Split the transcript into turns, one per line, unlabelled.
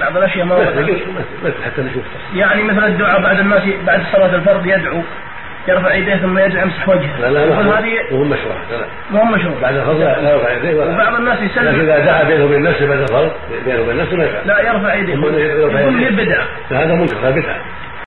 بعض الاشياء ما وردت.
مثل مثل حتى نشوف
يعني مثل الدعاء بعد الناس بعد صلاه الفرض يدعو يرفع يديه ثم يدعو يمسح وجهه
لا لا
يقول
ما
هذه
هو مشروع لا لا
مو مشروع
بعد الفرض لا لا يرفع يديه
وبعض
ولا
الناس
لكن
يسلم
اذا دعا بينه وبين نفسه بعد الفرض بينه وبين نفسه ما يفعل
لا يرفع يديه
أما إنه يرفع
يقول لي
يديه.
بدعه
فهذا منكر هذا بدعه